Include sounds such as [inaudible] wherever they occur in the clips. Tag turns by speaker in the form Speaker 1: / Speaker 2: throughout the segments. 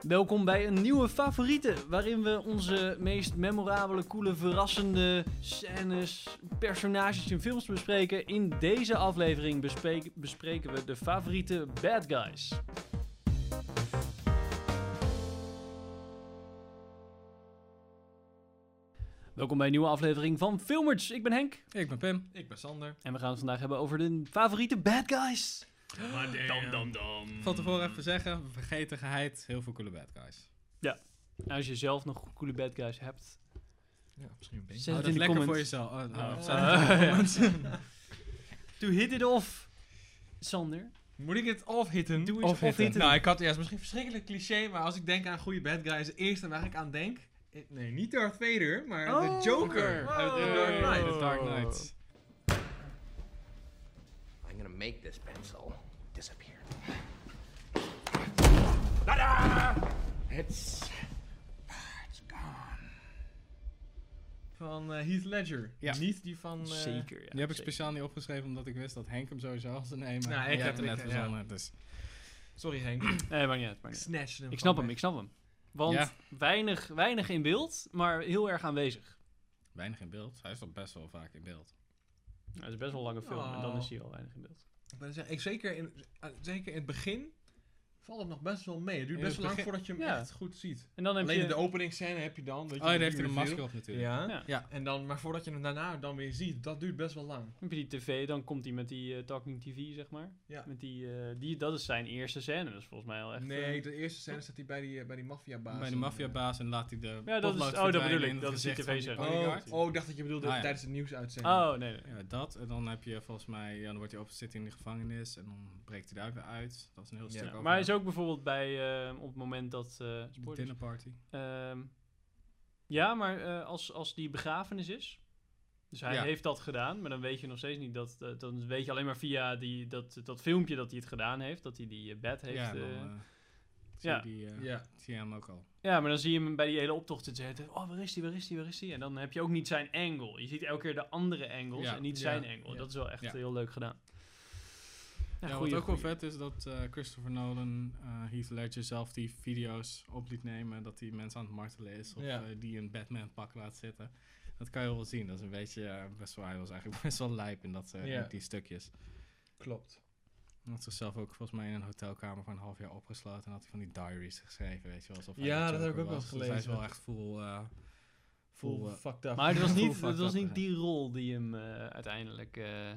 Speaker 1: Welkom bij een nieuwe favoriete, waarin we onze meest memorabele, coole, verrassende scènes, personages in films bespreken. In deze aflevering bespreek- bespreken we de favoriete bad guys. Welkom bij een nieuwe aflevering van Filmers. Ik ben Henk
Speaker 2: Ik ben Pim.
Speaker 3: Ik ben Sander.
Speaker 1: en we gaan het vandaag hebben over de favoriete bad guys.
Speaker 3: Dam, dam, dam.
Speaker 2: Van tevoren even zeggen, vergeten geheid, heel veel coole bad guys.
Speaker 1: Nou, Als je zelf nog coole bad guys hebt,
Speaker 3: Ja, misschien een beetje.
Speaker 1: zet
Speaker 2: Hou
Speaker 1: het
Speaker 2: dat
Speaker 1: in de
Speaker 2: lekker
Speaker 1: comments.
Speaker 2: voor jezelf. Oh, oh,
Speaker 1: Nou,
Speaker 3: Ah.
Speaker 2: sorry, in de comments.
Speaker 1: Eh, [laughs] To hit it off, Sander.
Speaker 3: [laughs] Moet ik het off-hitten?
Speaker 1: Doe eens Off-hitten. off-hitten.
Speaker 3: Nou, ik had ja, het is misschien verschrikkelijk cliché, maar als ik denk aan goede bad guys, de eerste waar ik aan denk... eh, Nee, niet Darth Vader, maar
Speaker 1: Oh,
Speaker 3: de Joker.
Speaker 1: Joker.
Speaker 3: Uit
Speaker 1: Oh.
Speaker 3: The Dark Knight.
Speaker 2: The Dark Knight.
Speaker 4: I'm gonna make this pencil disappear. Ta-da! It's
Speaker 3: Van eh, Heath Ledger.
Speaker 2: Ja.
Speaker 3: Niet die van... eh,
Speaker 1: Zeker, ja.
Speaker 2: Die heb ik
Speaker 1: zeker.
Speaker 2: speciaal niet opgeschreven, omdat ik wist dat Henk hem sowieso had te nemen.
Speaker 3: Nou, ik
Speaker 2: Jij
Speaker 3: heb
Speaker 2: hebt hem net
Speaker 3: hem, ik- ja.
Speaker 2: verzonnen, dus...
Speaker 3: Sorry [clears throat] Henk.
Speaker 1: Nee, maakt niet uit. Maakt
Speaker 3: ik
Speaker 1: niet uit.
Speaker 3: snatch hem
Speaker 1: Ik snap
Speaker 3: van
Speaker 1: hem,
Speaker 3: mij.
Speaker 1: ik snap hem. Want
Speaker 2: Ja.
Speaker 1: weinig, weinig in beeld, maar heel erg aanwezig.
Speaker 2: Weinig in beeld. Hij is toch best wel vaak in beeld.
Speaker 1: Nou, Het is best wel een lange film en dan is hij al weinig in beeld.
Speaker 3: Ik ben zeggen, ik, zeker, in, eh, zeker in het begin valt het nog best wel mee. Het duurt
Speaker 2: In
Speaker 3: best
Speaker 2: het
Speaker 3: wel lang
Speaker 2: begin-
Speaker 3: voordat je hem
Speaker 1: Ja.
Speaker 3: echt goed ziet.
Speaker 1: En dan heb
Speaker 3: Alleen
Speaker 1: je...
Speaker 3: de openingsscène heb je dan. weet je,
Speaker 2: Oh, ja,
Speaker 3: die
Speaker 2: daar heeft hij een
Speaker 3: reveal.
Speaker 2: masker op natuurlijk.
Speaker 3: Ja.
Speaker 1: Ja.
Speaker 2: Ja.
Speaker 3: En dan, maar voordat je hem daarna dan weer ziet, dat duurt best wel lang.
Speaker 1: heb je die tv, dan komt hij met die eh, Talking TV, zeg maar.
Speaker 3: Ja.
Speaker 1: Met die, eh, die, dat is zijn eerste scène, dat is volgens mij al echt...
Speaker 3: nee,
Speaker 1: eh,
Speaker 3: de eerste scène staat hij bij die, eh, bij die maffiabaas.
Speaker 2: Bij de maffiabaas en laat hij de
Speaker 1: Ja, dat is- oh,
Speaker 2: potlood
Speaker 1: dat
Speaker 2: verdwijnen
Speaker 1: bedoel ik.
Speaker 2: in het
Speaker 1: Dat is die
Speaker 2: gezicht van
Speaker 1: tv
Speaker 2: die
Speaker 1: serie.
Speaker 3: Oh,
Speaker 2: bodyguard.
Speaker 3: oh, ik dacht dat je bedoelde
Speaker 2: Ah, ja.
Speaker 3: tijdens het nieuws uitzenden.
Speaker 1: Oh, nee, nee.
Speaker 2: Ja, dat. En dan heb je volgens mij... Ja, dan wordt hij op, zit hij in de gevangenis en dan breekt hij daar weer uit. Dat is een heel
Speaker 3: Ja.
Speaker 2: stuk over.
Speaker 1: Maar hij is ook bijvoorbeeld bij, eh, op het moment dat... eh,
Speaker 2: De
Speaker 1: spoilers.
Speaker 2: dinnerparty.
Speaker 1: Ehm, ja, maar eh, als, als die begrafenis is. Dus hij
Speaker 2: Ja.
Speaker 1: heeft dat gedaan, maar dan weet je nog steeds niet dat. dat- dan weet je alleen maar via die, dat, dat filmpje dat hij het gedaan heeft. Dat hij die eh, bed heeft.
Speaker 2: ja,
Speaker 1: Ja,
Speaker 2: en dan, eh, zie
Speaker 1: ja.
Speaker 2: je die, eh,
Speaker 3: Ja.
Speaker 2: zie je hem ook al.
Speaker 1: ja, maar dan zie je hem bij die hele optocht zitten. zitten. Oh, waar is hij? Waar is hij? Waar is hij? En dan heb je ook niet zijn angle. Je ziet elke keer de andere angles
Speaker 2: Ja,
Speaker 1: en niet
Speaker 3: ja,
Speaker 1: zijn angle.
Speaker 3: ja.
Speaker 1: Dat is wel echt
Speaker 2: Ja.
Speaker 1: heel leuk gedaan.
Speaker 2: Ja,
Speaker 1: Ja,
Speaker 2: wat
Speaker 1: goeie,
Speaker 2: ook wel
Speaker 1: goeie.
Speaker 2: vet is dat eh, Christopher Nolan, eh, Heath Ledger zelf die video's op liet nemen. Dat hij mensen aan het martelen is of
Speaker 3: Ja.
Speaker 2: eh, die een Batman pak laat zitten. Dat kan je wel zien. Dat is een beetje eh, best wel, hij was eigenlijk [laughs] best wel lijp in dat, eh,
Speaker 3: Ja.
Speaker 2: in die stukjes.
Speaker 3: Klopt.
Speaker 2: Hij had zichzelf ook volgens mij in een hotelkamer van een half jaar opgesloten. En had hij van die diaries geschreven, weet je wel. Alsof hij
Speaker 3: Ja,
Speaker 2: de
Speaker 3: dat heb
Speaker 2: Joker
Speaker 3: ik ook wel
Speaker 2: was. Dus hij is
Speaker 3: gelezen.
Speaker 2: wel echt full... eh, full,
Speaker 3: Full
Speaker 2: eh,
Speaker 3: fucked up.
Speaker 1: Maar het
Speaker 2: [laughs]
Speaker 1: was niet,
Speaker 2: Full
Speaker 1: het was
Speaker 2: fucked
Speaker 1: niet
Speaker 2: up,
Speaker 1: die rol die hem eh, uiteindelijk. eh,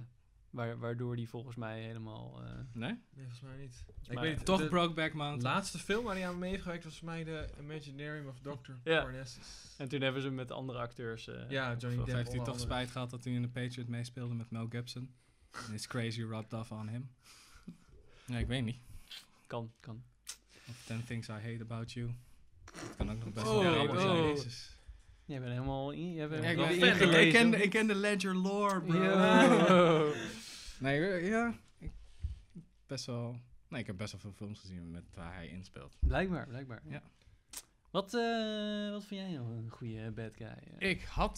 Speaker 1: waar, waardoor die volgens mij helemaal. eh,
Speaker 2: nee?
Speaker 3: Nee, volgens mij niet.
Speaker 1: Maar
Speaker 3: ik weet het.
Speaker 2: Toch
Speaker 3: de
Speaker 2: Brokeback
Speaker 3: de
Speaker 2: Mountain.
Speaker 3: laatste film waar hij aan mee heeft gewerkt was voor mij de Imaginarium of Dr.
Speaker 1: Ja.
Speaker 3: Parnassus.
Speaker 1: en toen hebben ze hem met andere acteurs. eh,
Speaker 3: Ja, Johnny
Speaker 2: Of
Speaker 3: Depp.
Speaker 2: heeft
Speaker 3: onder
Speaker 2: hij toch
Speaker 3: andere.
Speaker 2: spijt gehad dat hij in de Patriot meespeelde met Mel Gibson? En is crazy rubbed off on him? Nee, ik weet niet.
Speaker 1: Kan, kan.
Speaker 2: Of 10 Things I Hate About You. Dat kan ook nog best
Speaker 3: Oh,
Speaker 2: wel
Speaker 1: Ja,
Speaker 2: grappig
Speaker 1: oh.
Speaker 2: zijn.
Speaker 3: Jezus.
Speaker 1: Jij bent helemaal in. Jij bent
Speaker 2: Ja, ik,
Speaker 1: wel
Speaker 2: ben-
Speaker 3: ben
Speaker 2: ik- ik- ik
Speaker 1: ingelezen.
Speaker 2: ken, de- ik ken de Ledger lore, bro.
Speaker 1: Yo.
Speaker 2: [laughs] Nee, eh, ja. Ik, best wel... Nee, ik heb best wel veel films gezien met waar hij inspeelt.
Speaker 1: blijkbaar, blijkbaar. Ja.
Speaker 2: Ja.
Speaker 1: Wat, eh, wat vind jij nou een goede bad guy? eh?
Speaker 2: Ik had...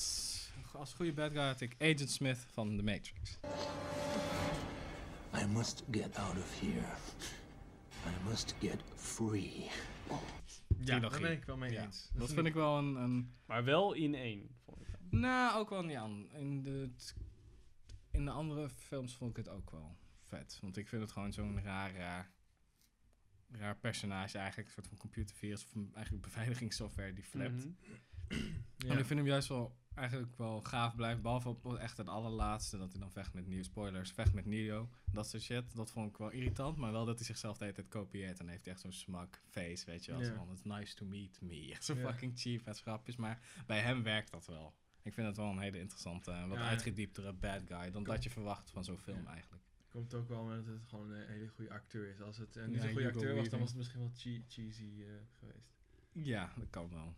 Speaker 2: Als goede bad guy had ik Agent Smith van The Matrix.
Speaker 4: I must get out of here. I must get free.
Speaker 3: Ja, daar
Speaker 2: Trilogie.
Speaker 3: ben ik wel mee
Speaker 2: Ja.
Speaker 3: eens.
Speaker 2: Dat vind ik wel een... een
Speaker 1: Maar wel in één. vond ik.
Speaker 2: Nou, ook wel niet aan. In de, t- in de andere films vond ik het ook wel vet. Want ik vind het gewoon zo'n raar, raar, raar personage eigenlijk. Een soort van computervirus of een- eigenlijk beveiligingssoftware die flapt.
Speaker 1: Mhm.
Speaker 3: Ja.
Speaker 2: En ik vind hem juist wel eigenlijk wel gaaf blijven. Behalve op echt het allerlaatste dat hij dan vecht met Neo. Spoilers, vecht met Neo. Dat soort shit. Dat vond ik wel irritant. Maar wel dat hij zichzelf de hele tijd kopieert. En dan heeft hij echt zo'n smak face, weet je wel.
Speaker 3: Ja.
Speaker 2: Zo van, it's nice to meet me. [laughs] Echt zo
Speaker 3: Ja.
Speaker 2: fucking cheap en grapjes. Maar bij hem werkt dat wel. Ik vind het wel een hele interessante, en wat
Speaker 3: Ja.
Speaker 2: uitgedieptere bad guy. Dan
Speaker 3: Kom.
Speaker 2: dat je verwacht van zo'n film
Speaker 3: Ja.
Speaker 2: eigenlijk.
Speaker 3: Komt ook wel met dat het gewoon een hele goede acteur is. Als het eh, niet
Speaker 2: Ja,
Speaker 3: een goede
Speaker 2: Hugo
Speaker 3: acteur was, dan
Speaker 2: Weaving.
Speaker 3: was het misschien wel chee- cheesy eh, geweest.
Speaker 2: Ja, dat kan wel.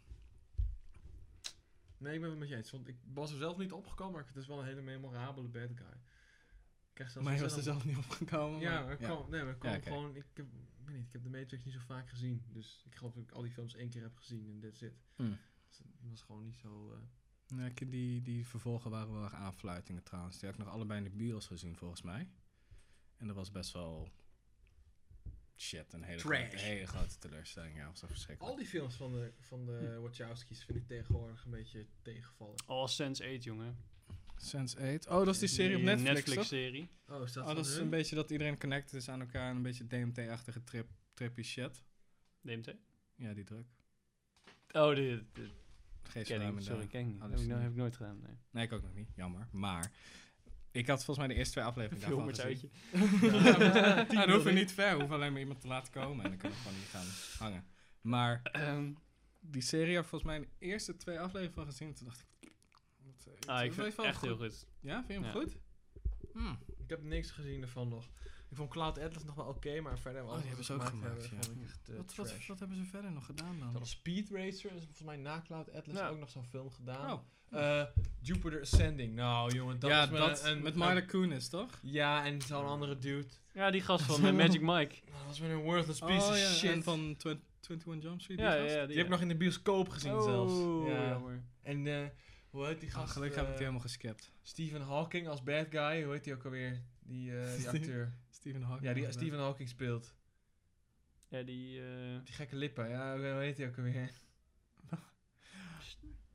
Speaker 3: Nee, ik ben het met je eens. Want ik was er zelf niet opgekomen, maar het is wel een hele memorabele bad guy. Ik krijg zelfs
Speaker 2: Maar hij
Speaker 3: een
Speaker 2: was er
Speaker 3: zin
Speaker 2: zelf niet opgekomen.
Speaker 3: om- Ja,
Speaker 2: maar-
Speaker 3: maar ik kwam, nee, maar ik kwam
Speaker 2: Ja, oké.
Speaker 3: gewoon... Ik, heb, ik weet niet, ik heb de Matrix niet zo vaak gezien. Dus ik geloof dat ik al die films één keer heb gezien en dit zit.
Speaker 2: Hmm.
Speaker 3: Dus het was gewoon niet zo... eh,
Speaker 2: Ja, ik- die, die vervolgen waren wel erg aanfluitingen trouwens. Die had ik nog allebei in de bios gezien volgens mij. En dat was best wel shit, een hele,
Speaker 3: Trash.
Speaker 2: grote, hele grote teleurstelling. Ja, was dat verschrikkelijk.
Speaker 3: Al die films van de, van
Speaker 2: Hmm.
Speaker 3: de Wachowskis vind ik tegenwoordig een beetje tegenvallen.
Speaker 1: All Sense 8, jongen. eh,
Speaker 2: Sense8. Oh, dat is die serie op Netflix, toch?
Speaker 1: serie.
Speaker 3: Oh, is dat
Speaker 2: Oh, dat is een beetje dat iedereen connected is aan elkaar. en Een beetje DMT-achtige trip, trippy shit.
Speaker 1: DMT.
Speaker 2: Ja, die druk.
Speaker 1: Oh, dit, dit
Speaker 2: Geen
Speaker 1: ken ik.
Speaker 2: sluimende-
Speaker 1: Sorry, ken ik niet. Heb ik,
Speaker 2: hallucinatie.
Speaker 1: nou, heb ik nooit gedaan, nee.
Speaker 2: Nee, ik ook nog niet. Jammer. Maar ik had volgens mij de eerste twee
Speaker 1: [laughs]
Speaker 2: afleveringen daarvan
Speaker 1: Filmers
Speaker 2: gezien.
Speaker 1: uitje.
Speaker 2: Ja, maar- [laughs] nou, dan hoef je niet ver. Hoef alleen maar iemand te laten komen. En dan kan ik gewoon niet gaan hangen. Maar
Speaker 1: Ehm,
Speaker 2: die serie had volgens mij de eerste twee afleveringen van gezien. Toen dacht ik... wat, eh,
Speaker 1: ah, ik
Speaker 2: het
Speaker 1: vind
Speaker 2: is
Speaker 1: het
Speaker 2: wel
Speaker 1: echt heel goed.
Speaker 2: Ja, vind je hem
Speaker 1: Ja.
Speaker 2: goed? Hmm.
Speaker 3: Ik heb niks gezien ervan nog. Ik vond Cloud Atlas nog wel oké, maar verder...
Speaker 2: Oh, die hebben ze ook gemaakt, ja.
Speaker 3: Vond ik echt, eh,
Speaker 2: Wat, wat,
Speaker 3: trash.
Speaker 2: wat hebben ze verder nog gedaan dan?
Speaker 3: Dan Speed Racer is volgens mij na Cloud Atlas
Speaker 1: Ja.
Speaker 3: ook nog zo'n film gedaan.
Speaker 2: Oh,
Speaker 3: Eh, Jupiter Ascending. Nou, jongen, dat
Speaker 2: ja,
Speaker 3: is met
Speaker 2: dat
Speaker 3: een, een-
Speaker 2: met
Speaker 3: een-
Speaker 2: Myla Kunis, toch?
Speaker 3: Ja, en zo'n andere dude.
Speaker 1: Ja, die gast van eh, Magic Mike.
Speaker 3: Nou, dat is weer een worthless piece of shit.
Speaker 2: Oh, en van 20 21 Jump Street.
Speaker 1: Ja, ja, ja.
Speaker 3: die heb ik nog in de bioscoop gezien
Speaker 2: Oh,
Speaker 3: zelfs.
Speaker 1: Ja,
Speaker 3: Ja.
Speaker 1: jammer.
Speaker 3: En eh, hoe heet die gast?
Speaker 2: Ah,
Speaker 3: eh,
Speaker 2: gelukkig heb ik die helemaal geskipt.
Speaker 3: Stephen Hawking als bad guy. Hoe heet die ook alweer? Die, eh, die acteur.
Speaker 2: [laughs] Stephen Oh, Hawking.
Speaker 3: Ja, die Stephen Hawking speelt.
Speaker 1: Ja, die... eh,
Speaker 3: Die gekke lippen. Ja, hoe heet die ook alweer?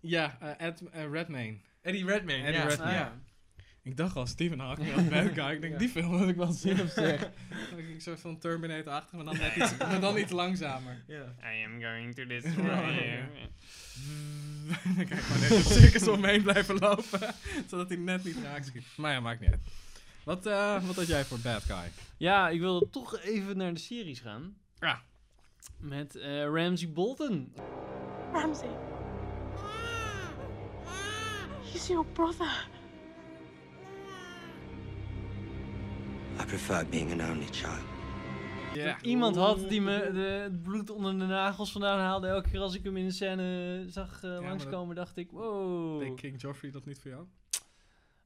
Speaker 2: Ja, eh, Ed, eh, Redmayne.
Speaker 3: Eddie Redmayne.
Speaker 2: Eddie
Speaker 3: ja.
Speaker 2: Redmayne.
Speaker 3: Ja.
Speaker 2: Ik dacht al, Stephen Hawking
Speaker 1: [laughs]
Speaker 2: als bad guy. Ik denk,
Speaker 3: Ja.
Speaker 2: die film wil ik wel zien op zich. Dan heb ik een soort van Terminator-achtig, maar, dan net iets- maar dan iets
Speaker 3: [laughs]
Speaker 2: langzamer.
Speaker 3: Ja.
Speaker 1: I am going to this [laughs]
Speaker 2: warrior.
Speaker 1: warrior.
Speaker 2: [laughs] dan kan ik gewoon even cirkels omheen blijven lopen, [laughs] zodat hij net niet raakt schiet. Maar ja, maakt niet uit. Wat, eh, wat had jij voor bad guy?
Speaker 1: ja, ik wil toch even naar de series gaan.
Speaker 2: Ja.
Speaker 1: Met eh, Ramsey Bolton.
Speaker 5: Ramsey. He's your brother. [laughs]
Speaker 6: I prefer being an only child.
Speaker 2: Ja.
Speaker 1: Iemand had die me de, het bloed onder de nagels vandaan haalde. Elke keer als ik hem in de scène zag eh,
Speaker 2: maar
Speaker 1: langskomen, dacht ik, wow.
Speaker 2: Deed King Joffrey dat niet voor jou?